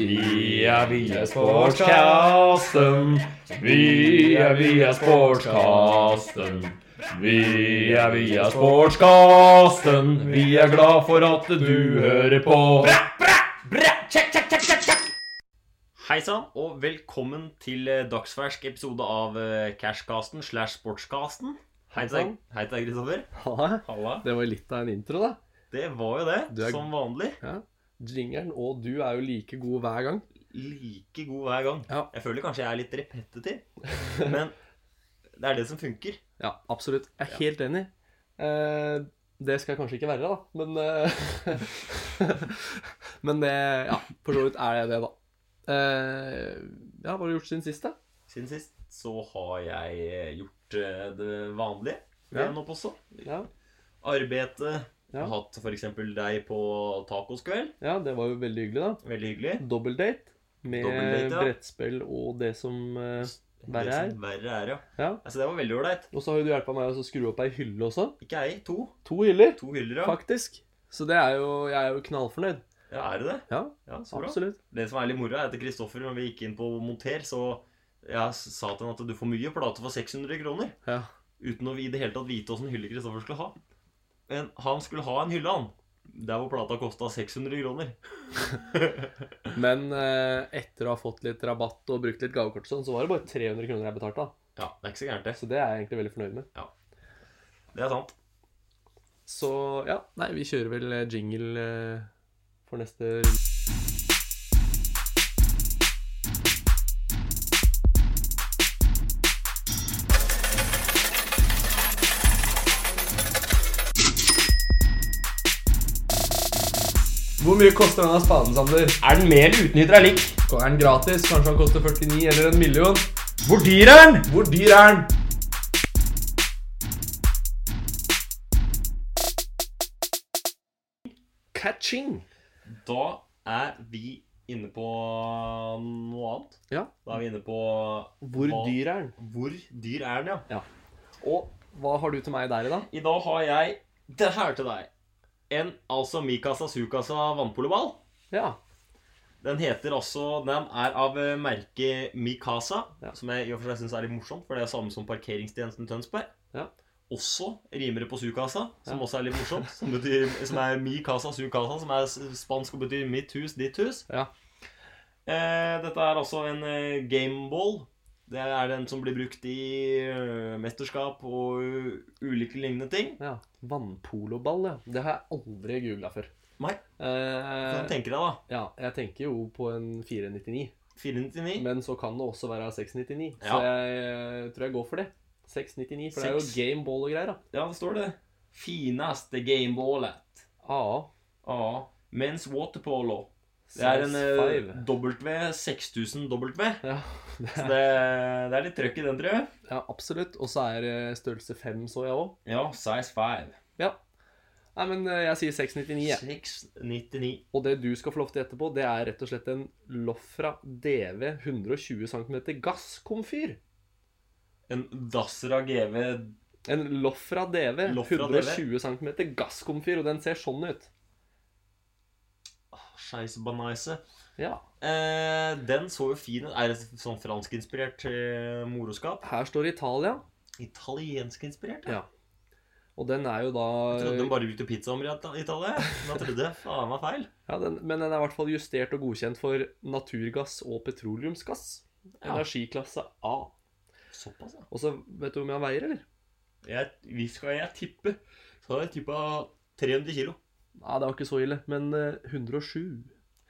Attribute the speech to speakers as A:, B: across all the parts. A: Vi er via sportskasten. Vi er via sportskasten. Vi er via sportskasten. Vi er glad for at du hører på.
B: Hei sann, og velkommen til eh, dagsfersk episode av eh, Cashcasten slash Sportscasten. Hei til deg,
C: sann.
B: Hei til deg, Kristoffer.
C: Halla.
B: Halla.
C: Det var litt av en intro, da.
B: Det var jo det,
C: Du er-
B: som vanlig.
C: Ja. Jingeren og du er jo like gode hver gang.
B: Like god hver gang.
C: Ja.
B: Jeg føler kanskje jeg er litt repetitiv, men det er det som funker.
C: Ja, absolutt. Jeg er helt enig. Eh, det skal jeg kanskje ikke være, da, men eh, Men det Ja, for så vidt er jeg det, da. Eh, ja, hva har du gjort siden sist, da?
B: Siden sist så har jeg eh, gjort eh, det vanlige,
C: Ja.
B: nå også.
C: Ja.
B: Arbeidet.
C: Ja.
B: Hatt f.eks. deg på tacoskveld.
C: ja, det var jo veldig hyggelig, da.
B: Veldig hyggelig.
C: Dobbeldate med
B: Dobbeldate, ja.
C: brettspill og det som eh, Verre
B: Det som
C: er.
B: Verre er, ja.
C: Ja.
B: Altså, det var veldig ålreit.
C: Og så har jo du hjelpa meg å skru opp ei hylle også.
B: Ikke jeg. To.
C: To hyller,
B: To hyller, ja.
C: faktisk. Så det er jo Jeg er jo knallfornøyd.
B: ja er det det?
C: Ja,
B: Ja, så bra.
C: absolutt.
B: Det som er litt moro, er at Kristoffer, når vi gikk inn på monter, så jeg s- sa til han at du får mye plate for 600 kroner.
C: Ja.
B: Uten å i det hele tatt vite åssen hylle Kristoffer skulle ha. Men han skulle ha en hylle, han. Der hvor plata kosta 600 kroner.
C: Men eh, etter å ha fått litt rabatt og brukt litt gavekort, og sånn, så var det bare 300 kroner jeg betalte. da.
B: Ja, det er ikke så gærent, det.
C: Så det er jeg egentlig veldig fornøyd med.
B: Det er sant.
C: Så ja, nei, vi kjører vel eh, jingle eh, for neste runde. Hvor mye koster denne spaden, Sander?
A: Er den med eller uten hydraulikk?
C: Er den gratis? Kanskje han koster 49 eller en million?
A: Hvor dyr er den? Hvor dyr er den?
C: Catching!
B: Da er vi inne på noe annet.
C: Ja.
B: Da er vi inne på
C: Hvor
B: Hva-
C: dyr er den?
B: Hvor dyr er den, ja?
C: Og hva har du til meg der i dag?
B: I dag har jeg det her til deg. En altså Mikasa Sukasa vannpoloball.
C: Ja.
B: Den heter altså Den er av eh, merket Mikasa,
C: Ja.
B: som jeg i og for seg syns er litt morsomt, for det er samme som parkeringstjenesten i Tønsberg.
C: Ja.
B: Også rimer det på Sukasa, som
C: Ja.
B: også er litt morsomt. Som, betyr, som er Mikasa Sukasa, som er s- spansk og betyr mitt hus, ditt hus.
C: Ja.
B: Eh, dette er altså en eh, gameball. Det er den som blir brukt i eh, mesterskap og eh, ulike lignende ting.
C: ja. Vannpoloball, ja. Det har jeg aldri googla før.
B: Nei. Hva
C: Eh,
B: tenker deg, da?
C: ja, jeg tenker jo på en 499,
B: 499?
C: men så kan det også være 699. Så
B: Ja.
C: jeg eh, tror jeg går for det. 699, for det er jo
B: Seks.
C: game ball og greier, da.
B: Ja, det står det. Fineste gameballet.
C: AA.
B: Ja. Mens waterpolo. Det er en eh,
C: size five.
B: W, 6000W.
C: ja, det
B: Så
C: er,
B: det, det er litt trøkk i den, tror jeg.
C: ja, absolutt. Og så er det størrelse 5, så jeg òg.
B: Ja, size 5.
C: Ja. Nei, men eh, jeg sier 699, jeg.
B: 699.
C: Og det du skal få lov til etterpå, det er rett og slett en Lofra DV 120 cm gasskomfyr.
B: En Dasra GV
C: En Lofra DV
B: Lofra
C: 120 cm gasskomfyr, og den ser sånn ut.
B: Scheisbanaise.
C: Ja.
B: Eh, den så jo fin ut. Er det sånn franskinspirert eh, moroskap?
C: Her står Italia,
B: Italienskinspirert?
C: Ja. og den er jo da
B: Jeg trodde de bare brukte pizza om i Ita- Italia. Men jeg trodde faen meg feil.
C: ja, den, Men den er i hvert fall justert og godkjent for naturgass og petroleumsgass.
B: Ja.
C: Energiklasse A.
B: Såpass, ja.
C: Og så vet du hvor mye han veier, eller?
B: Jeg, hvis skal jeg tippe, så har jeg tippa 300 kilo.
C: Nei, det var ikke så ille, men eh, 107.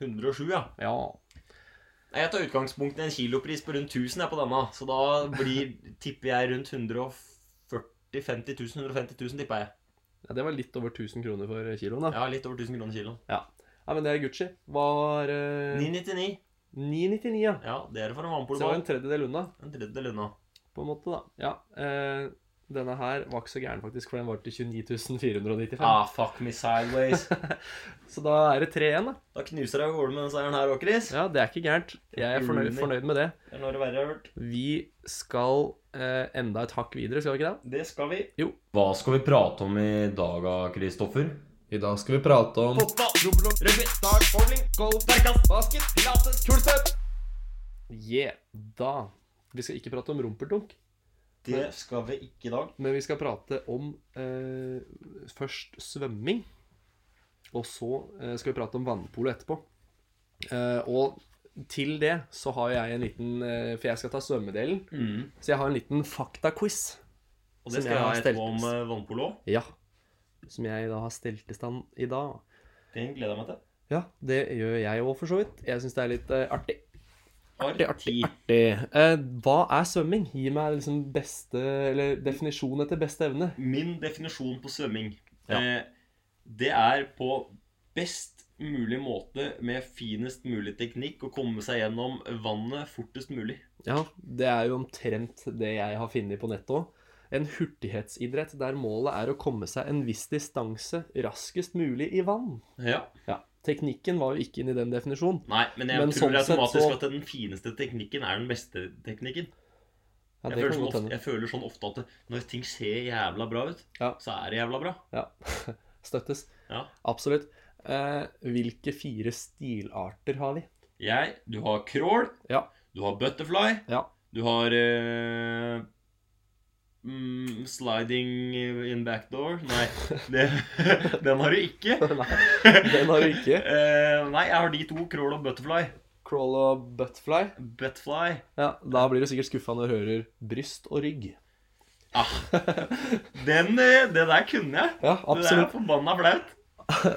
B: 107, ja.
C: Ja.
B: Nei, Jeg tar utgangspunkt i en kilopris på rundt 1000 jeg på denne. Så da blir, tipper jeg rundt 140 50 000, 150 000 tipper jeg.
C: ja. Det var litt over 1000 kroner for kiloen, da.
B: Ja, litt over 1000 kroner kiloen.
C: Ja, men det er Gucci. Var eh,
B: 999.
C: 999, ja.
B: Ja, det er for
C: Så det
B: en
C: var
B: vannpoleball.
C: en tredjedel unna,
B: En tredjedel unna.
C: på en måte, da. Ja, eh, denne her var ikke så gæren, faktisk, for den var til 29 495.
B: Ah, fuck me sideways.
C: Så da er det tre igjen, da.
B: Da knuser jeg av gårde med den seieren her òg, Chris.
C: Ja, det er ikke gærent. Jeg er fornøyd, fornøyd med det.
B: Det er noe verre jeg har hørt.
C: Vi skal eh, enda et hakk videre, skal vi ikke det?
B: Det skal vi.
C: Jo.
B: Hva skal vi prate om i dag, Kristoffer?
D: I dag skal vi prate om
B: Fotball, jubel, rugby, start, bowling, golf, verkast, basket, pilates, kulestøt.
C: Yeah, da. Vi skal ikke prate om rumpeldunk,
B: Det skal vi ikke i dag.
C: men vi skal prate om eh, først svømming. Og så eh, skal vi prate om vannpolo etterpå. Eh, og til det så har jeg en liten eh, For jeg skal ta svømmedelen. Så jeg har en liten faktaquiz.
B: Og
C: Mm. Som
B: det skal
C: jeg
B: jeg
C: har
B: ha
C: stelt.
B: etterpå om eh, vannpolo.
C: Ja. Som jeg da har stelt i stand i dag.
B: Den gleder jeg meg til.
C: Ja, det gjør jeg òg, for så vidt. Jeg syns det er litt eh, artig.
B: Artig,
C: artig. Eh, hva er svømming? Gi meg liksom beste Eller definisjon etter beste evne.
B: Min definisjon på svømming
C: Ja.
B: eh, Det er på best mulig måte med finest mulig teknikk å komme seg gjennom vannet fortest mulig.
C: Ja, det er jo omtrent det jeg har funnet på nettet òg. En hurtighetsidrett der målet er å komme seg en viss distanse raskest mulig i vann.
B: Ja.
C: Ja, Teknikken var jo ikke inne i den definisjonen.
B: Nei, men jeg
C: Men
B: tror
C: sånn
B: det
C: sett
B: automatisk
C: så-
B: at den fineste teknikken er den beste teknikken.
C: Ja,
B: jeg,
C: det
B: føler
C: kan
B: sånn
C: godt
B: ofte,
C: hende.
B: jeg føler sånn ofte at når ting ser jævla bra ut,
C: Ja.
B: så er det jævla bra.
C: Ja. Støttes.
B: Ja.
C: Absolutt. Eh, hvilke fire stilarter har vi?
B: Jeg, du har crawl,
C: Ja.
B: du har butterfly,
C: Ja.
B: du har eh, mm, sliding in backdoor Nei, det, den har du ikke.
C: Nei, den har du ikke.
B: Eh, nei, jeg har de to, crawl og butterfly.
C: Crawl og buttfly.
B: Butterfly.
C: Ja, Da blir du sikkert skuffa når du hører bryst og rygg.
B: Ah, den, eh, det der kunne jeg.
C: Ja,
B: Det der
C: absolutt.
B: er forbanna flaut.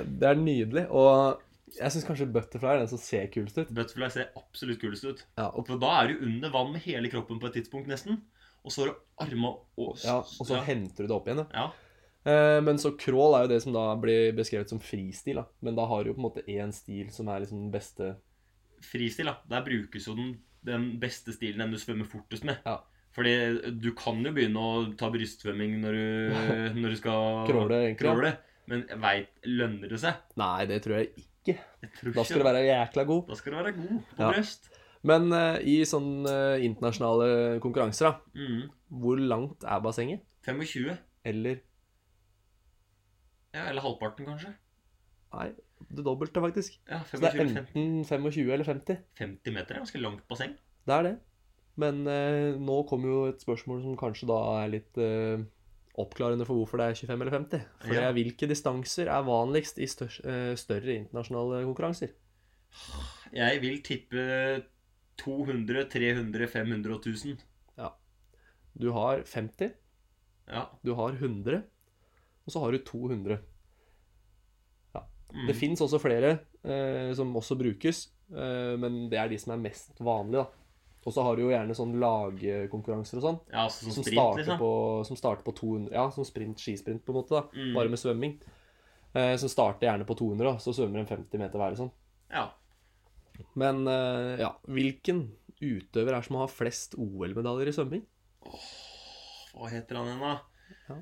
C: Det er nydelig. Og jeg syns kanskje butterfly er den som ser kulest ut.
B: Butterfly ser absolutt kulest ut.
C: Ja, og,
B: For da er du under vann med hele kroppen på et tidspunkt, nesten. Og så har du arma og
C: ja, og så
B: ja.
C: henter du det opp igjen, ja.
B: ja.
C: Eh, Men så crawl er jo det som da blir beskrevet som fristil. da. Men da har du jo på en måte én stil som er liksom den beste
B: Fristil, da. Der brukes jo den, den beste stilen den du svømmer fortest med.
C: Ja.
B: Fordi du kan jo begynne å ta brystsvømming når du, når du skal
C: Kråle, egentlig, ja.
B: kråle. Men jeg veit Lønner det seg?
C: Nei, det tror jeg ikke.
B: Jeg tror
C: Da skal du være jækla god.
B: da skal du være god på
C: Ja.
B: bryst.
C: Men eh, i sånne eh, internasjonale konkurranser, da,
B: Mm.
C: hvor langt er bassenget?
B: 25.
C: Eller
B: Ja, eller halvparten, kanskje.
C: Nei, det dobbelte, faktisk.
B: Ja,
C: Så det er
B: 25,
C: enten 25 eller 50.
B: 50 meter. Ganske langt basseng.
C: Det er det. Men eh, nå kommer jo et spørsmål som kanskje da er litt eh, oppklarende for hvorfor det er 25 eller 50. For det
B: Ja.
C: er hvilke distanser er vanligst i stør eh, større internasjonale konkurranser?
B: Jeg vil tippe 200, 300, 500 og 1000.
C: Du har 50,
B: Ja.
C: du har 100, og så har du 200.
B: Mm.
C: Det fins også flere eh, som også brukes, eh, men det er de som er mest vanlige, da. Og så har du jo gjerne sånn lagkonkurranser og sånn,
B: Ja, altså som
C: som,
B: sprint,
C: starter
B: liksom.
C: på, som starter på 200 Ja, som sprint, skisprint, på en måte, da.
B: Mm.
C: bare med svømming. Eh, som starter gjerne på 200, da, så svømmer en 50 meter hver. og Sånn.
B: Ja.
C: Men eh, ja, hvilken utøver er det som har flest OL-medaljer i svømming?
B: Hva heter han igjen, da?
C: Ja.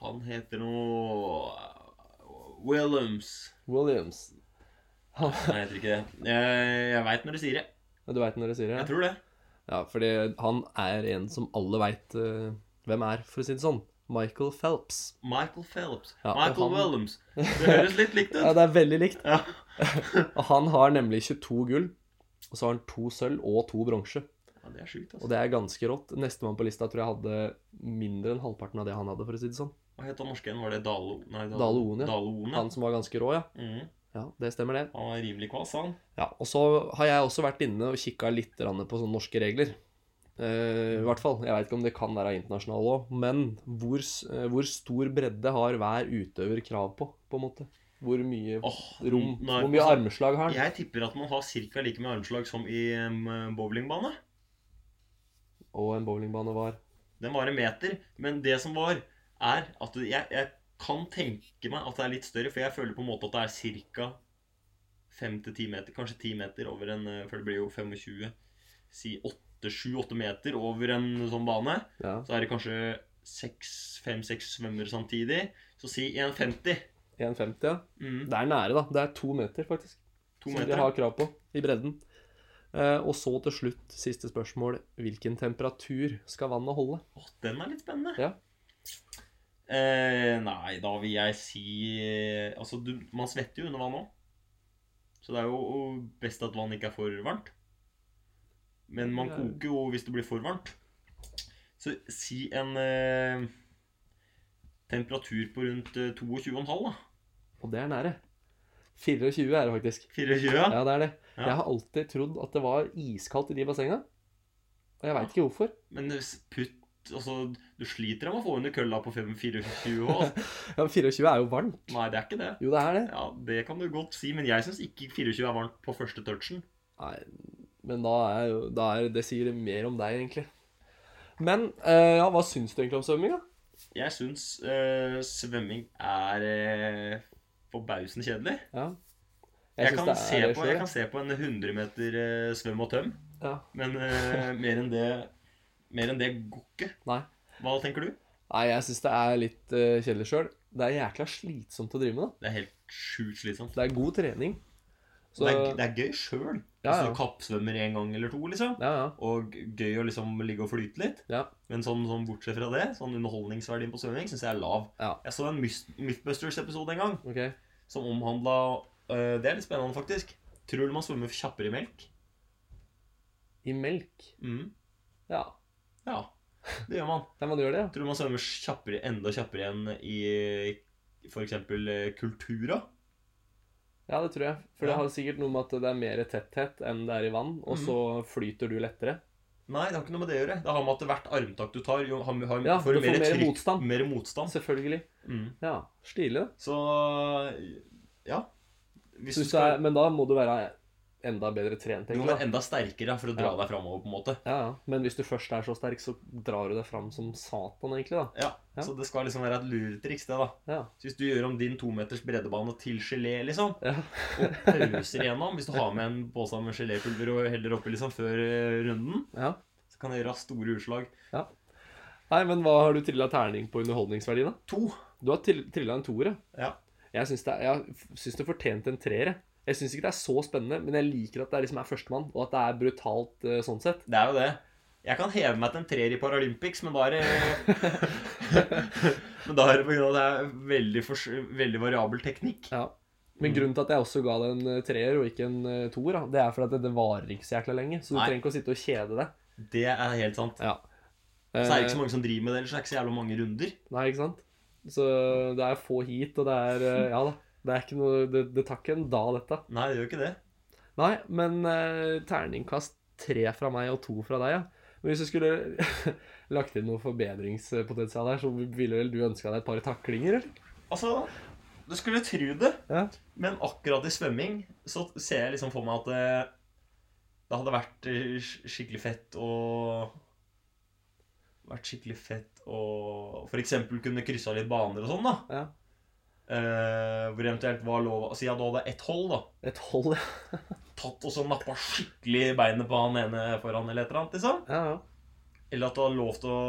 B: Han heter noe eh, Williams.
C: Williams.
B: Nei, jeg tror ikke det. Jeg, jeg veit når du sier det.
C: Du veit når jeg sier det?
B: Jeg tror det.
C: Ja, fordi han er en som alle veit hvem er, for å si det sånn. Michael Phelps.
B: Michael Phillips.
C: Ja, og
B: Michael
C: han-
B: Williams. Det høres litt likt
C: Ja,
B: ut.
C: det er veldig likt.
B: Ja.
C: Og Han har nemlig 22 gull, og så har han to sølv og to bronse.
B: ja, det er
C: Og
B: sjukt, altså.
C: det er ganske rått. Nestemann på lista tror jeg hadde mindre enn halvparten av det han hadde, for å si det sånn.
B: Hva het han norske igjen? Var det Dalo... Nei, Dalo,
C: Dale Oen, ja.
B: Dale Oen, ja.
C: Han som var ganske rå, ja.
B: Mhm.
C: Ja, det stemmer det.
B: Han var rimelig kvass, han.
C: Ja, og så har jeg også vært inne og kikka litt grann på sånne norske regler. Eh, I hvert fall. Jeg veit ikke om det kan være internasjonale òg. Men hvor, s- eh, hvor stor bredde har hver utøver krav på, på en måte? Hvor mye
B: Åh,
C: rom
B: nei,
C: Hvor mye
B: altså,
C: armslag har han?
B: Jeg tipper at man har ca. like mye armslag som i em, bowlingbane.
C: Og en bowlingbane var
B: Den var en meter, men det som var, er at jeg, jeg kan tenke meg at det er litt større, for jeg føler på en måte at det er ca. 5-10 meter, kanskje 10 meter over en eh, For det blir jo 25 Si 7-8 meter over en sånn bane.
C: ja,
B: Så er det kanskje 5-6 svømmere samtidig. Så si 1,50.
C: 1,50, ja.
B: Mm,
C: Det er nære, da. Det er to meter, faktisk.
B: to
C: som de
B: meter.
C: har krav på i bredden. Eh, og så til slutt, siste spørsmål. Hvilken temperatur skal vannet holde?
B: Å, den er litt spennende.
C: Ja.
B: Eh, nei, da vil jeg si eh, Altså, du, man svetter jo under vann òg. Så det er jo og best at vann ikke er for varmt. Men man
C: Ja.
B: koker jo hvis det blir for varmt. Så si en eh, temperatur på rundt eh, 22,5, da.
C: Og det er nære. 24 er det faktisk.
B: 24? Ja.
C: Ja, det er det.
B: Ja.
C: Jeg har alltid trodd at det var iskaldt i de bassenga. Og jeg veit ikke hvorfor.
B: Men s- putt Altså, du sliter med å få under kølla på 5-24 òg. Altså.
C: Ja, men 24 er jo varmt.
B: Nei, det er ikke det.
C: Jo, det er det.
B: Ja, Det kan du godt si, men jeg syns ikke 24 er varmt på første touchen.
C: Nei, men da er jo da er, Det sier mer om deg, egentlig. Men eh, ja, hva syns du egentlig om svømming, da?
B: Jeg syns eh, svømming er eh, forbausende kjedelig.
C: Ja.
B: Jeg,
C: syns
B: kan se
C: det
B: på,
C: selv,
B: jeg kan se på en 100 meter eh, svøm og tøm,
C: ja.
B: men eh, mer enn det Mer enn det går ikke.
C: Nei.
B: Hva tenker du?
C: Nei, jeg syns det er litt eh, kjedelig sjøl. Det er jækla slitsomt å drive med, da.
B: Det er helt sjukt slitsomt.
C: Det er god trening. Så-
B: Det, er, det er gøy sjøl.
C: Ja,
B: Altså,
C: ja.
B: du kappsvømmer en gang eller to, liksom.
C: Ja, ja.
B: Og gøy å liksom ligge og flyte litt.
C: Ja.
B: Men sånn, sånn bortsett fra det, sånn underholdningsverdien på svømming syns jeg er lav.
C: Ja.
B: Jeg så en Myth- Mythbusters-episode en gang
C: Ok.
B: som omhandla eh, Det er litt spennende, faktisk. Tror du man svømmer kjappere i melk?
C: I melk?
B: Mm.
C: Ja.
B: Ja, det gjør man.
C: Ja, man gjør det, ja.
B: Tror du man svømmer kjappere, enda kjappere enn i f.eks. kultura?
C: Ja, det tror jeg. For det
B: Ja. Mm.
C: har sikkert noe med at det er mer tetthet enn det er i vann, og så flyter du lettere.
B: Nei, det har ikke noe med det å gjøre. Det har med at hvert armtak du tar, jo, har, har,
C: Ja,
B: Mm. får
C: du får
B: mer
C: mer
B: trykk.
C: motstand.
B: Mer motstand.
C: Selvfølgelig.
B: Mm.
C: Ja, stilig. da.
B: Så ja. Hvis
C: Så hvis
B: du
C: du
B: skal
C: er, men da må du være enda bedre trent,
B: Du må være
C: egentlig. da.
B: enda sterkere for å dra
C: Ja.
B: deg framover, på en måte.
C: Ja, ja. Men hvis du først er så sterk, så drar du deg fram som satan, egentlig, da.
B: Ja.
C: Ja.
B: Så det skal liksom være et luretriks, det, da.
C: Ja.
B: Så hvis du gjør om din tometers breddebane til gelé, liksom,
C: Ja.
B: og pauser igjennom Hvis du har med en pose med gelépulver og heller oppi liksom før eh, runden,
C: ja.
B: så kan det gjøre store utslag.
C: Nei, men hva har du trilla terning på underholdningsverdien, da?
B: To.
C: Du har trilla en toer, ja.
B: Ja.
C: Jeg syns det, er- jeg syns det fortjente en treer, jeg. Jeg syns ikke det er så spennende, men jeg liker at det er liksom er førstemann, og at det er brutalt eh, sånn sett.
B: Det er jo det. Jeg kan heve meg til en treer i Paralympics, men da er det Men da er det på grunn av at det er veldig, fors- veldig variabel teknikk.
C: Ja. Men grunnen til at jeg også ga det en eh, treer og ikke en eh, toer, da, det er fordi at det, det varer ikke så jækla lenge. Så du
B: Nei.
C: trenger ikke å sitte og kjede deg.
B: Det er helt sant.
C: Ja.
B: Så er det ikke så mange som driver med det, ellers er det ikke så jævla mange runder.
C: Nei, ikke sant? Så det er få hit, og det er eh, Ja da. Det er ikke noe Det, det tar ikke en dag, dette.
B: Nei, det gjør ikke det.
C: Nei, men eh, terningkast tre fra meg og to fra deg, ja. Men hvis du skulle lagt inn noe forbedringspotensial her, så ville vel du ønska deg et par taklinger, eller?
B: Altså, du skulle tro det,
C: Ja.
B: men akkurat i svømming så ser jeg liksom for meg at det, det hadde vært eh, sk- skikkelig fett å Vært skikkelig fett å f.eks. kunne kryssa litt baner og sånn, da.
C: Ja.
B: Eh, hvor eventuelt var lov Si at du hadde ett hold, da.
C: Et hold, ja.
B: Tatt og så nappa skikkelig beinet på han ene foran, eller et eller annet, liksom.
C: ja, ja.
B: Eller at du hadde lov til å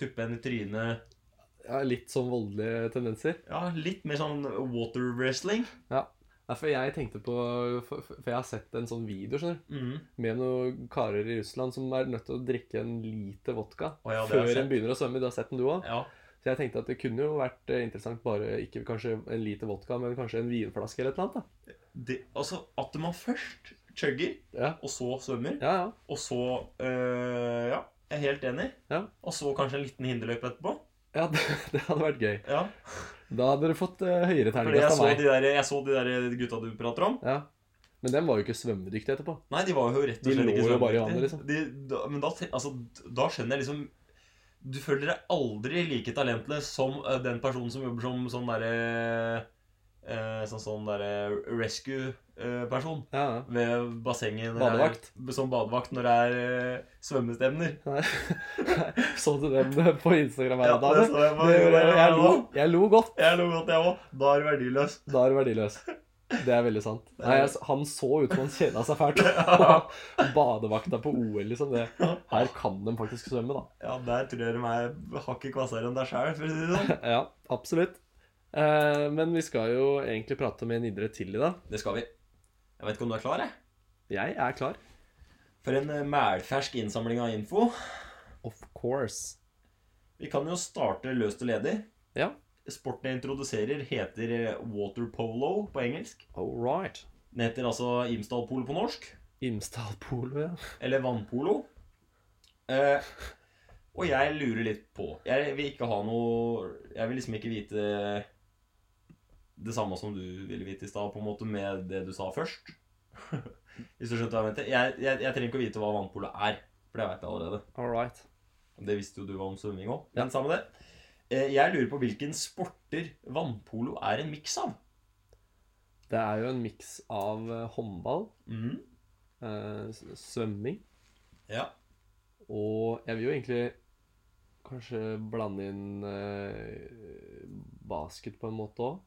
B: tuppe en i trynet.
C: ja litt sånn voldelige tendenser.
B: Ja, litt mer sånn water wrestling.
C: Nei, for jeg tenkte på For, for jeg har sett en sånn video skjønner du,
B: Mm.
C: med noen karer i Russland som er nødt til å drikke en liter vodka
B: Å ja, det har
C: før
B: jeg
C: en
B: sett.
C: begynner å svømme. Du har sett den, du òg?
B: Ja.
C: Så jeg tenkte at det kunne jo vært eh, interessant bare ikke kanskje en liter vodka, men kanskje en vinflaske eller et eller annet.
B: det, altså, at man først chugger,
C: da. Ja,
B: og så svømmer,
C: ja. ja.
B: og så øh, Ja, jeg er helt enig.
C: Ja.
B: Og så kanskje en liten hinderløype etterpå.
C: Ja, det, det hadde vært gøy.
B: Ja,
C: Da hadde dere fått eh, høyere
B: fordi jeg
C: terningkast
B: så,
C: av
B: de
C: meg.
B: der, jeg så de der gutta du prater om.
C: Ja. Men den var jo ikke svømmedyktig etterpå.
B: Nei, de var jo rett og
C: De
B: slett
C: lå
B: ikke
C: jo bare i
B: svømmedyktige.
C: vannet, liksom.
B: De, da, men da, te- altså, da skjønner jeg liksom Du føler deg aldri like talentløs som øh, den personen som jobber som sånn derre øh, Sånn, sånn derre rescue-person.
C: Ja, ja.
B: ved bassenget når
C: Badevakt?
B: Det er, som badevakt når det er eh, svømmestevner.
C: Nei. Så du den eh, på Instagram her
B: Ja,
C: om dagen?
B: det så jeg på-
C: Det gjorde jeg, jeg, lo,
B: også.
C: jeg lo godt.
B: Jeg lo godt, jeg òg. Da er du verdiløs.
C: Da er du verdiløs. Det er veldig sant. Nei, jeg, han så ut som han kjeda seg fælt. Badevakta på OL, liksom. Det. Her kan de faktisk svømme, da.
B: Ja, der tror jeg de er hakket kvassere enn deg sjæl, for å si det sånn.
C: Ja, absolutt. Eh, men vi skal jo egentlig prate om en idrett til i dag.
B: Det skal vi. Jeg vet ikke om du er klar, jeg.
C: Jeg er klar.
B: For en eh, mælfersk innsamling av info.
C: Of course.
B: Vi kan jo starte løst og ledig.
C: Ja.
B: Sporten jeg introduserer, heter waterpolo på engelsk.
C: All right.
B: Den heter altså Imsdalpolo på norsk.
C: Imsdalpolo, ja.
B: Eller vannpolo. Eh, og jeg lurer litt på Jeg vil ikke ha noe Jeg vil liksom ikke vite det samme som du ville vite i stad, på en måte, med det du sa først. Hvis du skjønte hva jeg mente. Jeg, jeg, jeg trenger ikke å vite hva vannpolo er, for det veit jeg allerede.
C: All right.
B: Det visste jo du var om svømming òg. Men samme det. Eh, jeg lurer på hvilken sporter vannpolo er en miks av.
C: Det er jo en miks av eh, håndball, eh, s- svømming
B: Ja.
C: og Jeg vil jo egentlig kanskje blande inn eh, basket på en måte òg.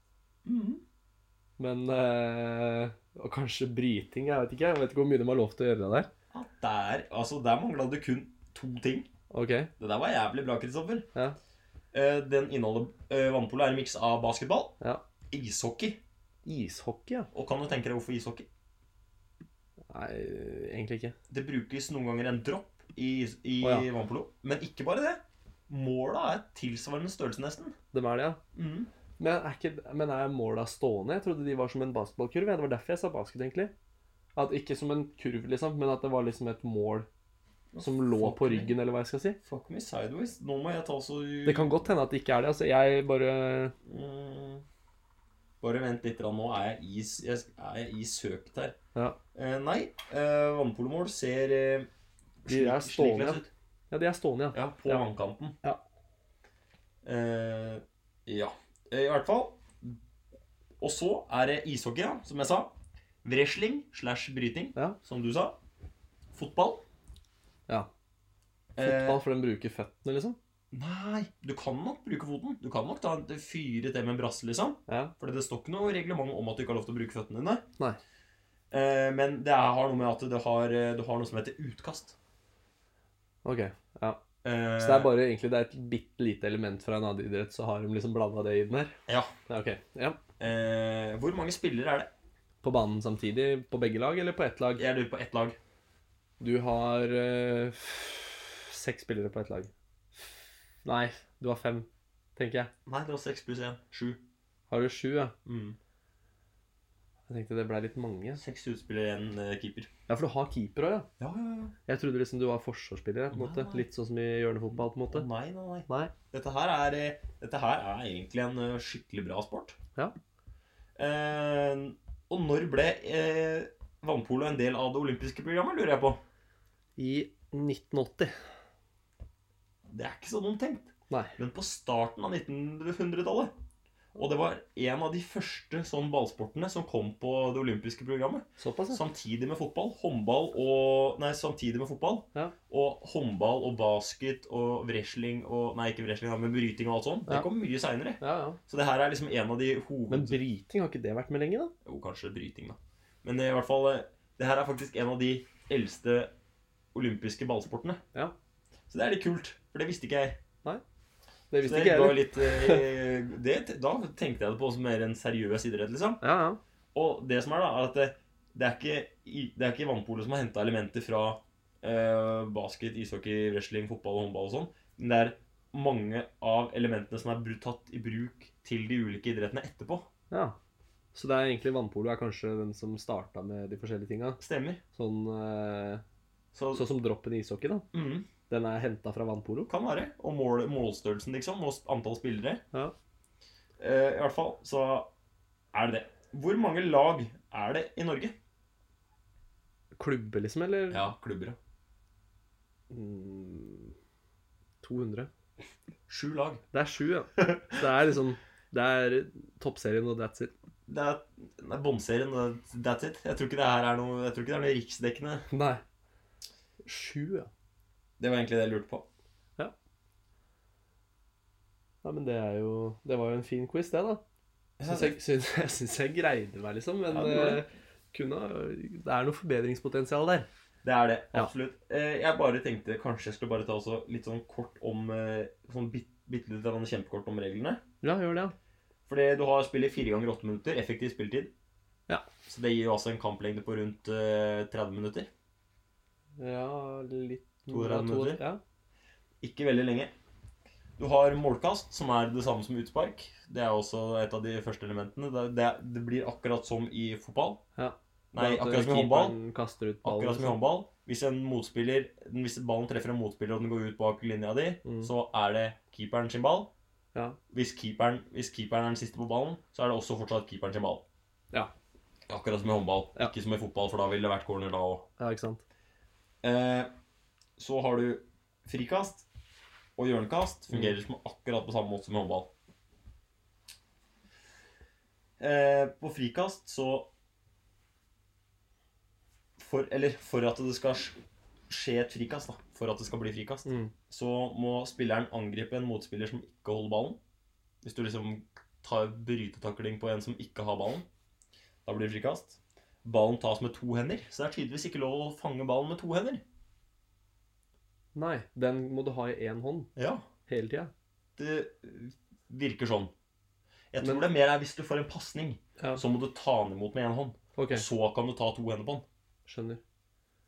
C: Men eh, Og kanskje bryting. Jeg vet ikke jeg vet ikke hvor mye de har lov til å gjøre der.
B: At Der, altså, der mangla det kun to ting.
C: Ok,
B: Det der var jævlig bra, Kristoffer.
C: ja.
B: Eh, Den inneholder eh, Vannpolo er en miks av basketball,
C: ja.
B: ishockey
C: Ishockey, ja.
B: Og kan du tenke deg hvorfor ishockey?
C: Nei, egentlig ikke.
B: Det brukes noen ganger en dropp i, is- i
C: Å, ja.
B: vannpolo. Men ikke bare det. Måla er tilsvarende størrelse, nesten.
C: Dem er det, ja.
B: Mm.
C: Men er, ikke, men er måla stående? Jeg trodde de var som en basketballkurv. ja. Det var derfor jeg sa basket, egentlig. At Ikke som en kurv, liksom, men at det var liksom et mål som lå
B: Fuck
C: på
B: me.
C: ryggen, eller hva jeg skal si.
B: Fuck me sideways. Nå må jeg ta så
C: Det kan godt hende at det ikke er det. altså. Jeg bare
B: mm. Bare vent litt, grann, nå er jeg i, s- jeg, sk- er jeg i søkt her.
C: Ja,
B: Eh, nei, eh, vannpolomål ser eh,
C: De er
B: slik- slik
C: stående,
B: lest ut.
C: ja de er stående, ja.
B: Ja, på
C: Ja.
B: vannkanten.
C: Ja.
B: Eh, ja. Eh, I hvert fall. Og så er det ishockey, ja, som jeg sa. Wrestling slash bryting,
C: Ja.
B: som du sa. Fotball.
C: ja. Fotball, for den bruker føttene, liksom.
B: Eh, nei, du kan nok bruke foten. Du kan nok ta en fyre til med en brasse, liksom.
C: Ja.
B: For det står ikke noe reglement om at du ikke har lov til å bruke føttene dine.
C: Nei.
B: Eh, men det er, har noe med at du har, eh, du har noe som heter utkast.
C: Ok. ja.
B: Eh,
C: Så det er bare egentlig det er et bitte lite element fra en annen idrett, så har de liksom blanda det i den her?
B: Ja.
C: Ja, ok. Ja.
B: Eh, hvor mange spillere er det?
C: På banen samtidig, på begge lag, eller på ett lag?
B: Jeg lurer på ett lag.
C: Du har eh, f- seks spillere på ett lag. Nei, du har fem, tenker jeg.
B: Nei, det var seks pluss én. Sju.
C: Har du sju, ja?
B: Mm.
C: Jeg tenkte det ble litt mange.
B: Seks utspillere, en eh, keeper.
C: Ja, for du har keeper òg, ja.
B: Ja, ja, ja.
C: Jeg trodde liksom du var forsvarsspiller. på en måte.
B: Nei.
C: Litt sånn som i hjørnefotball. på en måte.
B: nei, nei, nei.
C: Nei.
B: Dette her er, eh, dette her er egentlig en eh, skikkelig bra sport.
C: Ja.
B: Eh, og når ble eh, vannpolo en del av det olympiske programmet, lurer jeg på?
C: I 1980.
B: Det er ikke så dumt tenkt.
C: Nei.
B: Men på starten av 1900-tallet. Og det var en av de første sånn ballsportene som kom på det olympiske programmet.
C: Såpass, ja.
B: Samtidig med fotball. Håndball og Nei, samtidig med fotball.
C: Ja.
B: Og håndball og basket og wrestling og Nei, ikke wrestling, da, men bryting og alt sånt.
C: Ja.
B: Det kom mye seinere.
C: ja, ja.
B: Så det her er liksom en av de
C: Men
B: hoved...
C: bryting, har ikke det vært med lenge, da?
B: Jo, kanskje bryting, da. Men i hvert fall eh, Det her er faktisk en av de eldste olympiske ballsportene.
C: Ja.
B: Så det er litt kult, for det visste ikke jeg.
C: Det
B: Så
C: visste
B: det
C: ikke
B: ga
C: jeg.
B: litt eh, det, Da tenkte jeg det på som mer en seriøs idrett, liksom.
C: Ja, ja.
B: Og det som er, da, er at det, det er ikke, i- det er ikke vannpolet som har henta elementer fra eh, basket, ishockey, wrestling, fotball og håndball og sånn. Men det er mange av elementene som er bru- tatt i bruk til de ulike idrettene etterpå.
C: ja. Så det er egentlig vannpolo er kanskje den som starta med de forskjellige tinga.
B: Stemmer.
C: Sånn, eh,
B: Så,
C: sånn som droppen i ishockey, da.
B: mm,
C: Den er henta fra vannpolo.
B: kan være. Og mål, målstørrelsen, liksom. Og s- antall spillere.
C: Ja.
B: Eh, I hvert fall så er det det. Hvor mange lag er det i Norge?
C: Klubbe, liksom, eller?
B: Ja, klubber, ja.
C: Mm, 200.
B: Sju lag.
C: Det er sju, ja. Så det er liksom Det er toppserien og that's it.
B: Det er, det er båndserien. det- That's it. Jeg tror ikke det her er noe, jeg tror ikke det er noe riksdekkende.
C: Nei. Sju, ja.
B: Det var egentlig det jeg lurte på.
C: Nei, men det er jo Det var jo en fin quiz, det, da. Syns jeg, syns, jeg syns jeg greide meg, liksom. Men
B: Ja, du gjorde
C: eh, kunne ha- Det er noe forbedringspotensial der.
B: Det er det.
C: Ja.
B: Absolutt. Eh, Jeg bare tenkte kanskje jeg skulle bare ta også litt sånn kort om eh, Sånn bitte, bitte litt grann kjempekort om reglene.
C: Ja, gjør det, ja.
B: Fordi du har spillet fire ganger åtte minutter, effektiv spilletid.
C: Ja.
B: Så det gir jo altså en kamplengde på rundt eh, 30 minutter.
C: Ja, litt
B: 200
C: ja, to-
B: minutter?
C: Ja.
B: Ikke veldig lenge. Du Du har målkast, som er det samme som utspark. Det er også et av de første elementene. Det, det, det blir akkurat som i fotball.
C: Ja.
B: Nei,
C: At eh,
B: akkurat som i
C: keeperen
B: håndball.
C: Kaster ut ballen. liksom.
B: Akkurat som i håndball. Hvis en motspiller Hvis ballen treffer en motspiller, og den går ut bak linja di,
C: Mm.
B: så er det keeperen sin ball.
C: Ja.
B: Hvis keeperen, hvis keeperen er den siste på ballen, så er det også fortsatt keeperen sin ball.
C: Ja.
B: Akkurat som i håndball.
C: Ja.
B: Ikke som i fotball, for da ville det vært corner da òg.
C: ja, ikke sant.
B: Eh, så har du frikast og hjørnekast. Fungerer som akkurat på samme måte som i håndball. Eh, på frikast så for, Eller for at det skal sk- skje et frikast, da, for at det skal bli frikast,
C: Mm.
B: så må spilleren angripe en motspiller som ikke holder ballen. Hvis du liksom tar brytetakling på en som ikke har ballen, da blir det frikast. Ballen tas med to hender, så det er tydeligvis ikke lov å fange ballen med to hender.
C: Nei, den må du ha i én hånd
B: Ja,
C: hele tida.
B: det virker sånn. Jeg
C: Men-
B: tror det er mer er hvis du får en pasning,
C: Ja.
B: så må du ta den imot med én hånd.
C: Ok,
B: Så kan du ta to hender på den.
C: skjønner.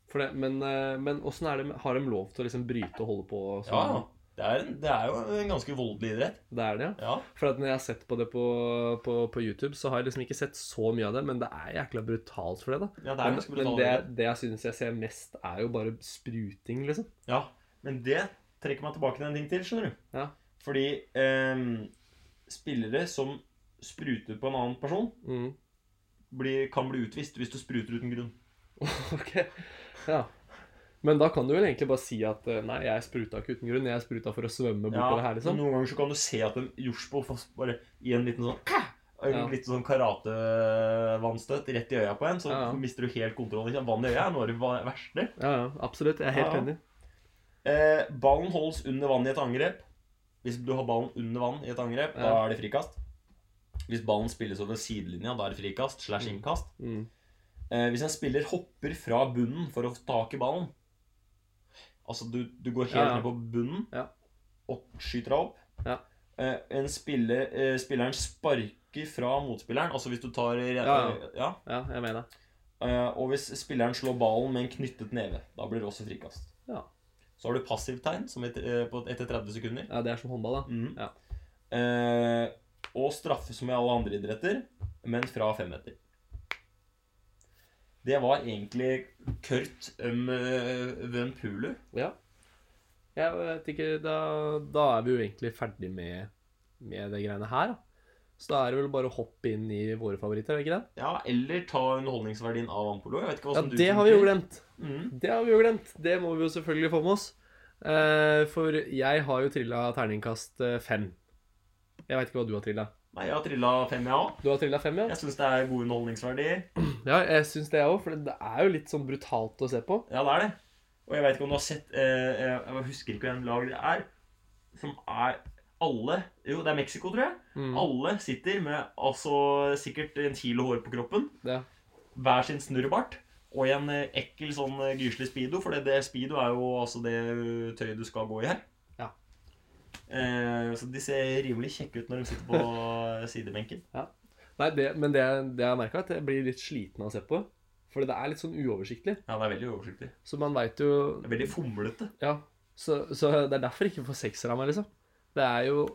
C: For det, men eh, men åssen er det med- Har de lov til å liksom bryte og holde på
B: Ja,
C: sånn?
B: ja. Det er, en- det er jo en ganske voldelig idrett.
C: Det er det, ja?
B: Ja.
C: For at når jeg har sett på det på, på, på YouTube, så har jeg liksom ikke sett så mye av det, men det er jækla brutalt for det, da.
B: ja det er
C: Men,
B: ganske
C: men
B: brutalt.
C: det, det jeg synes jeg ser mest, er jo bare spruting, liksom.
B: Ja, men det trekker meg tilbake til en ting til, skjønner du.
C: Ja.
B: Fordi ehm, spillere som spruter på en annen person,
C: Mm.
B: blir, kan bli utvist hvis du spruter uten grunn.
C: Ok. Ja. Men da kan du vel egentlig bare si at eh, nei, jeg spruta ikke uten grunn, jeg spruta for å svømme bortover her, liksom.
B: Noen ganger så kan du se at en jordsbo bare i en liten sånn «Kæ!» en
C: Ja.
B: liten sånn karatevannstøt rett i øya på en, så
C: Ja, ja.
B: mister du helt kontroll. Ikke? sant? Vann i øya er noe av det va- verste.
C: Ja, ja, absolutt. Jeg er helt
B: Ja, ja.
C: enig.
B: Eh, ballen holdes under vann i et angrep. Hvis du har ballen under vann i et angrep, da
C: Ja.
B: er det frikast. Hvis ballen spilles over sidelinja, da er det frikast slash
C: Mm.
B: innkast.
C: Mm.
B: Eh, hvis en spiller hopper fra bunnen for å få tak i ballen Altså, du, du går helt
C: Ja, ja.
B: ned på bunnen
C: Ja.
B: og skyter deg opp.
C: Ja.
B: Eh, en spiller, eh, spilleren sparker fra motspilleren, altså hvis du tar
C: Ja,
B: ja.
C: Ja, jeg mener det.
B: Eh, og hvis spilleren slår ballen med en knyttet neve, da blir det også frikast.
C: Ja.
B: Så har du passivtegn som etter, eh, på, etter 30 sekunder.
C: Ja, det er som håndball, da.
B: Mhm.
C: Ja.
B: Eh, og straffe som i alle andre idretter, men fra femmeter. Det var egentlig Kurt um, Vønpulu.
C: Ja. Jeg vet ikke, da, da er vi jo egentlig ferdig med, med det greiene her, da. Så da er det vel bare å hoppe inn i våre favoritter, er det ikke det?
B: Ja, eller ta underholdningsverdien av vannpolo. Jeg vet ikke hva
C: Ja,
B: som du
C: det har vi jo
B: tenker.
C: glemt.
B: Mhm.
C: Det har vi jo glemt. Det må vi jo selvfølgelig få med oss. Eh, for jeg har jo trilla terningkast eh, fem. Jeg veit ikke hva du har trilla.
B: Nei, jeg har trilla fem, jeg òg.
C: Du har trilla fem, ja?
B: Jeg syns det er god underholdningsverdi.
C: Ja, jeg syns det, jeg òg. For det er jo litt sånn brutalt å se på.
B: Ja, det er det. Og jeg vet ikke om du har sett eh, eh, Jeg husker ikke hvem lag det er. Som er alle Jo, det er Mexico, tror jeg.
C: Mm,
B: Alle sitter med altså sikkert en kilo hår på kroppen.
C: det.
B: hver sin snurrebart og i en eh, ekkel sånn eh, gyselig speedo, for det, det speedo er jo altså det eh, tøyet du skal gå i her.
C: Ja.
B: Eh, så de ser rimelig kjekke ut når de sitter på eh, sidebenken.
C: Nei, det, men det, det jeg har merka, at jeg blir litt sliten av å se på. For det er litt sånn uoversiktlig.
B: Ja, det er veldig oversiktlig.
C: Så man veit jo
B: Det er veldig fomlete.
C: Ja. Så, så det er derfor jeg ikke får sekser av meg, liksom. Det er jo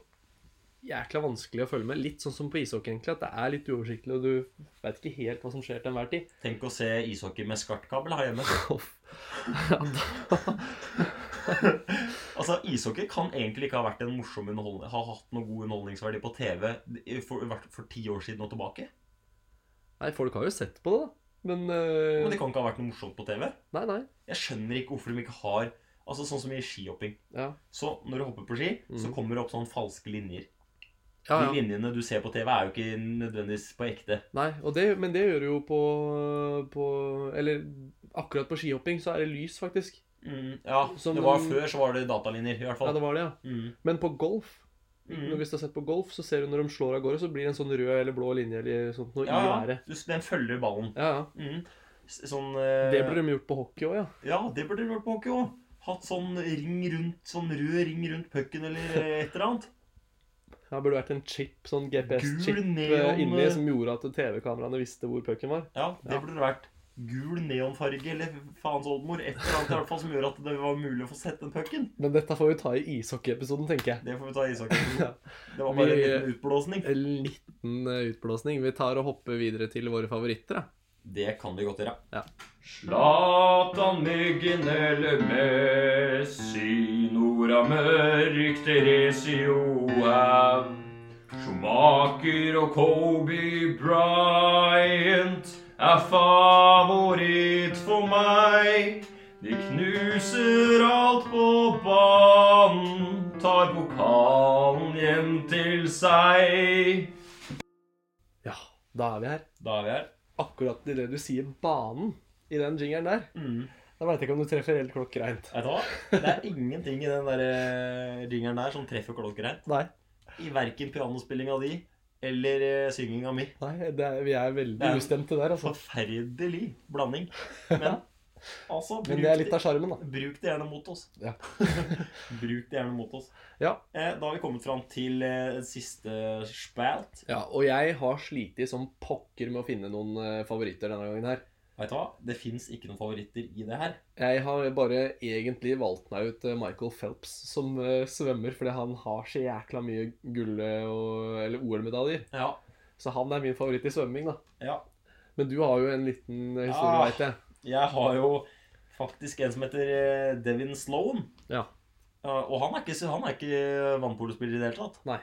C: jækla vanskelig å følge med. Litt sånn som på ishockey, egentlig. At det er litt uoversiktlig, og du veit ikke helt hva som skjer til enhver tid.
B: Tenk å se ishockey med skartkabel her hjemme. Altså, ishockey kan egentlig ikke ha vært en morsom underholdning, ha hatt noe god underholdningsverdi på TV i- for, i hvert fall for ti år siden og tilbake.
C: Nei, folk har jo sett på det, da. Men, eh,
B: Men det kan ikke ha vært noe morsomt på TV.
C: Nei, nei.
B: Jeg skjønner ikke hvorfor de ikke har Altså, sånn som i skihopping.
C: Ja.
B: Så når du hopper på ski, så
C: Mhm.
B: kommer det opp sånne falske linjer.
C: Ja,
B: De
C: ja.
B: linjene du ser på TV, er jo ikke nødvendigvis på ekte.
C: Nei, og det, men det gjør du jo på, på Eller akkurat på skihopping så er det lys, faktisk.
B: ja,
C: Mhm. Som
B: det var
C: den-
B: før, så var det datalinjer, i hvert
C: Ja,
B: fall.
C: det var det, ja.
B: Mm.
C: Men på golf,
B: Mm.
C: når- hvis du har sett på golf, så ser du når de slår av gårde, så blir det en sånn rød eller blå linje eller sånt noe
B: Ja,
C: i
B: ja.
C: været.
B: Du, den følger ballen.
C: Ja, ja.
B: Mm. S- Sånn eh,
C: Det burde de gjort på hockey òg, ja.
B: Ja, det burde du vært på hockey òg. Hatt sånn ring rundt, sånn rød ring rundt pucken eller eh, et eller annet.
C: Ja, Det burde vært en chip, sånn GPS-chip
B: Gul neon,
C: inni
B: eh,
C: som gjorde at TV-kameraene visste hvor pucken var.
B: Ja, det
C: Ja.
B: burde det vært. gul neonfarge eller faens oldemor. Et eller annet i hvert fall som gjør at det var mulig å få sett den pucken.
C: Men dette får vi ta i ishockeyepisoden, tenker jeg.
B: Det får vi ta i ishockey.
C: Ja.
B: Det var bare en
C: Vi- eh,
B: liten utblåsning.
C: En liten eh, utblåsning. Vi tar og hopper videre til våre favoritter. Da.
B: Det kan vi godt gjøre.
A: Zlatan, Myggen eller Messi, Nora Mørk, Theresio Haug, Schumacher og Kobe Bryant er favoritt for meg. De knuser alt på banen, tar pokalen hjem til seg.
C: Ja, da er vi her.
B: Da er vi her.
C: Akkurat i det du sier banen i den jingeren der,
B: Mm.
C: da veit jeg ikke om du treffer helt klokkreint.
B: Vet du hva? Det er ingenting i den der eh, ringeren der som treffer klokkereint.
C: Nei,
B: I verken pianospillinga di eller eh, synginga mi.
C: nei det er, vi er
B: Det
C: veldig
B: er-
C: ustemte der, altså.
B: Forferdelig blanding. Men altså
C: Men det er litt av sjarmen, da.
B: Bruk det gjerne mot oss.
C: Ja.
B: Bruk det gjerne mot oss.
C: Ja.
B: Eh, Da har vi kommet fram til eh, siste spalt.
C: ja, og jeg har slitt som pokker med å finne noen eh, favoritter denne gangen her.
B: Vet du hva? Det fins ikke noen favoritter i det her.
C: Jeg har bare egentlig valgt meg ut eh, Michael Phelps som eh, svømmer, fordi han har så jækla mye gull- eh, og- eller OL-medaljer.
B: Ja.
C: Så han er min favoritt i svømming, da.
B: ja.
C: Men du har jo en liten eh, historie,
B: Ah.
C: vet veit jeg.
B: Jeg har jo faktisk en som heter eh, Devin Sloan.
C: Ja.
B: Ja, Og han er ikke, han er ikke vannpolospiller i det hele tatt.
C: Nei.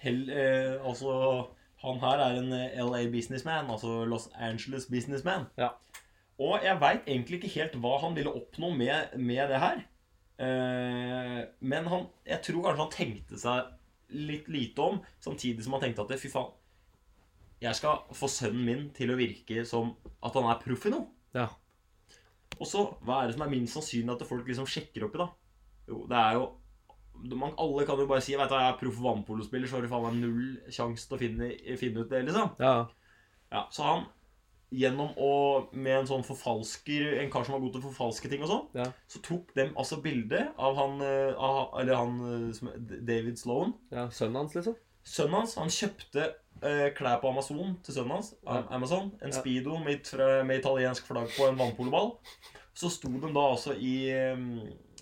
B: Hell, eh, altså, han her er en eh, LA businessman, altså Los Angeles businessman.
C: Ja.
B: Og jeg veit egentlig ikke helt hva han ville oppnå med, med det her. Eh, men han, jeg tror kanskje han tenkte seg litt lite om, samtidig som han tenkte at fy faen, jeg skal få sønnen min til å virke som at han er proff i noe.
C: Ja.
B: Og så, hva er det som er minst sannsynlig at folk liksom sjekker opp i, da? Jo, det er jo man, Alle kan jo bare si Vet du, hva, jeg er proff vannpolospiller, så har du faen meg null sjanse til å finne, finne ut det, liksom.
C: ja.
B: Ja, så han, gjennom å Med en sånn forfalsker En kar som var god til å forfalske ting og sånn,
C: Ja.
B: så tok dem altså bilde av han eh, av, Eller han eh, som David Sloan.
C: ja. Sønnen hans, liksom?
B: Sønnen hans han kjøpte eh, klær på Amazon til sønnen hans. Am- Amazon, En
C: Ja.
B: speedo med, it- fra- med italiensk flagg på en vannpoloball. Så sto de da altså i eh,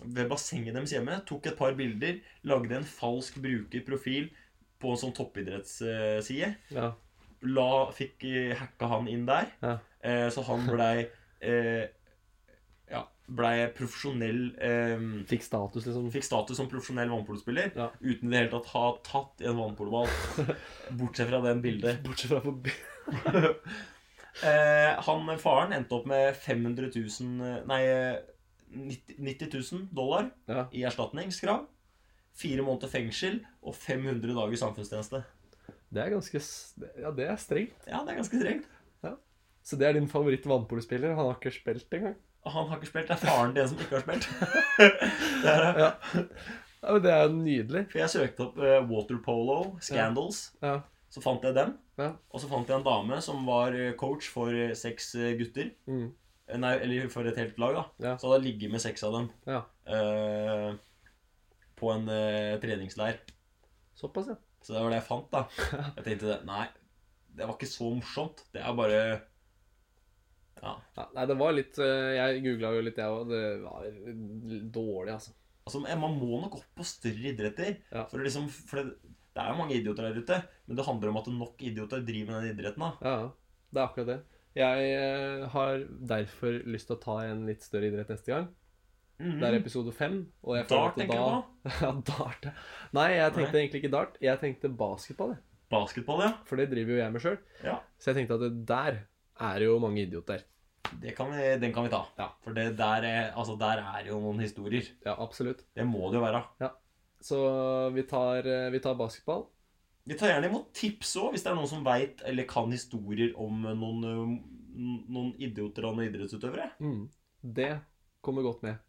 B: ved bassenget deres hjemme, tok et par bilder, lagde en falsk brukerprofil på en sånn toppidrettsside.
C: Ja.
B: La, fikk eh, hacka han inn der.
C: Ja.
B: Eh, så han blei eh, ja, blei profesjonell eh,
C: Fikk status, liksom.
B: Fikk status som profesjonell vannpolospiller
C: Ja.
B: uten i det hele tatt ha tatt en vannpoloball. Bortsett fra den bildet.
C: Bortsett fra forbi
B: Eh, han faren endte opp med 500 000 Nei, 90 90 000 dollar
C: Ja.
B: i erstatningskrav. Fire måneder fengsel og 500 dager samfunnstjeneste.
C: Det er ganske s- Ja, det er strengt.
B: Ja, det er ganske strengt.
C: Så det er din favoritt vannpolspiller? Han har ikke spilt engang?
B: Han har ikke spilt. Det er faren til en som ikke har spilt.
C: Ja. ja, men det er jo nydelig.
B: For jeg søkte opp eh, water polo, scandals.
C: Ja.
B: Så fant jeg den.
C: Ja.
B: Og så fant jeg en dame som var eh, coach for eh, seks eh, gutter.
C: Mm.
B: Eh, Nei, eller for et helt lag, da.
C: Ja.
B: Så hadde jeg ligget med seks av dem
C: ja.
B: eh, på en eh, treningsleir.
C: Såpass, ja.
B: Så det var det jeg fant, da. Jeg tenkte det. Nei, det var ikke så morsomt. Det er bare Ja.
C: ja. Nei, det var litt eh, Jeg googla jo litt, jeg òg. Det var dårlig, altså.
B: Altså, men Man må nok opp på større idretter.
C: Ja.
B: For, å liksom, for det, det er jo mange idioter der ute, men det handler om at nok idioter driver med den idretten. da.
C: Ja, ja. Det er akkurat det. Jeg eh, har derfor lyst til å ta en litt større idrett neste gang.
B: Mhm.
C: Mm. Det er episode fem. Og jeg føler
B: Dart,
C: at det
B: tenker du på?
C: Ja, dart. ja. Nei, jeg tenkte egentlig ikke dart. Jeg tenkte basketball, jeg.
B: Basketball, ja.
C: for det driver jo jeg med sjøl.
B: ja.
C: Så jeg tenkte at det der er det jo mange idioter.
B: Det kan vi, den kan vi ta.
C: Ja.
B: For det der er, altså, der er jo noen historier.
C: Ja, absolutt.
B: Det må det jo være.
C: Så vi tar, eh, vi tar basketball.
B: Vi tar gjerne imot tips òg, hvis det er noen som veit eller kan historier om eh, noen, øhm, noen idioter og noen idrettsutøvere.
C: Mm. Det kommer godt med.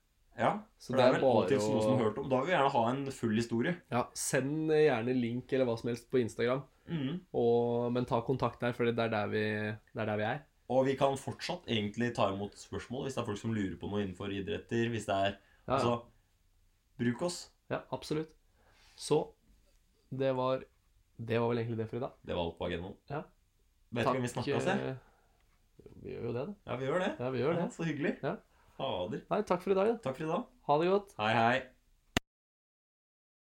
B: Ja,
C: Så
B: for det er vel alltid noen som har hørt om. Da vil vi gjerne ha en full historie.
C: ja, Send gjerne link eller hva som helst på Instagram,
B: Mhm.
C: Mm. og, men ta kontakt der, for det er der vi, det er, der vi er.
B: Og vi kan fortsatt egentlig ta imot spørsmål hvis det er folk som lurer på noe innenfor idretter. Hvis det
C: Ja,
B: er
C: ja.
B: Altså, bruk oss.
C: ja, absolutt. Så det var Det var vel egentlig det for i dag.
B: Det var alt på agendaen.
C: Ja.
B: Vet du hvem vi snakka
C: Takk,
B: til?
C: eh, Vi gjør jo det, da.
B: Ja, vi gjør det.
C: Ja, vi gjør det.
B: Ja, så hyggelig.
C: Ja.
B: Fader.
C: Nei, takk for i dag. da.
B: Takk for i dag.
C: Ha det godt.
B: Hei, hei.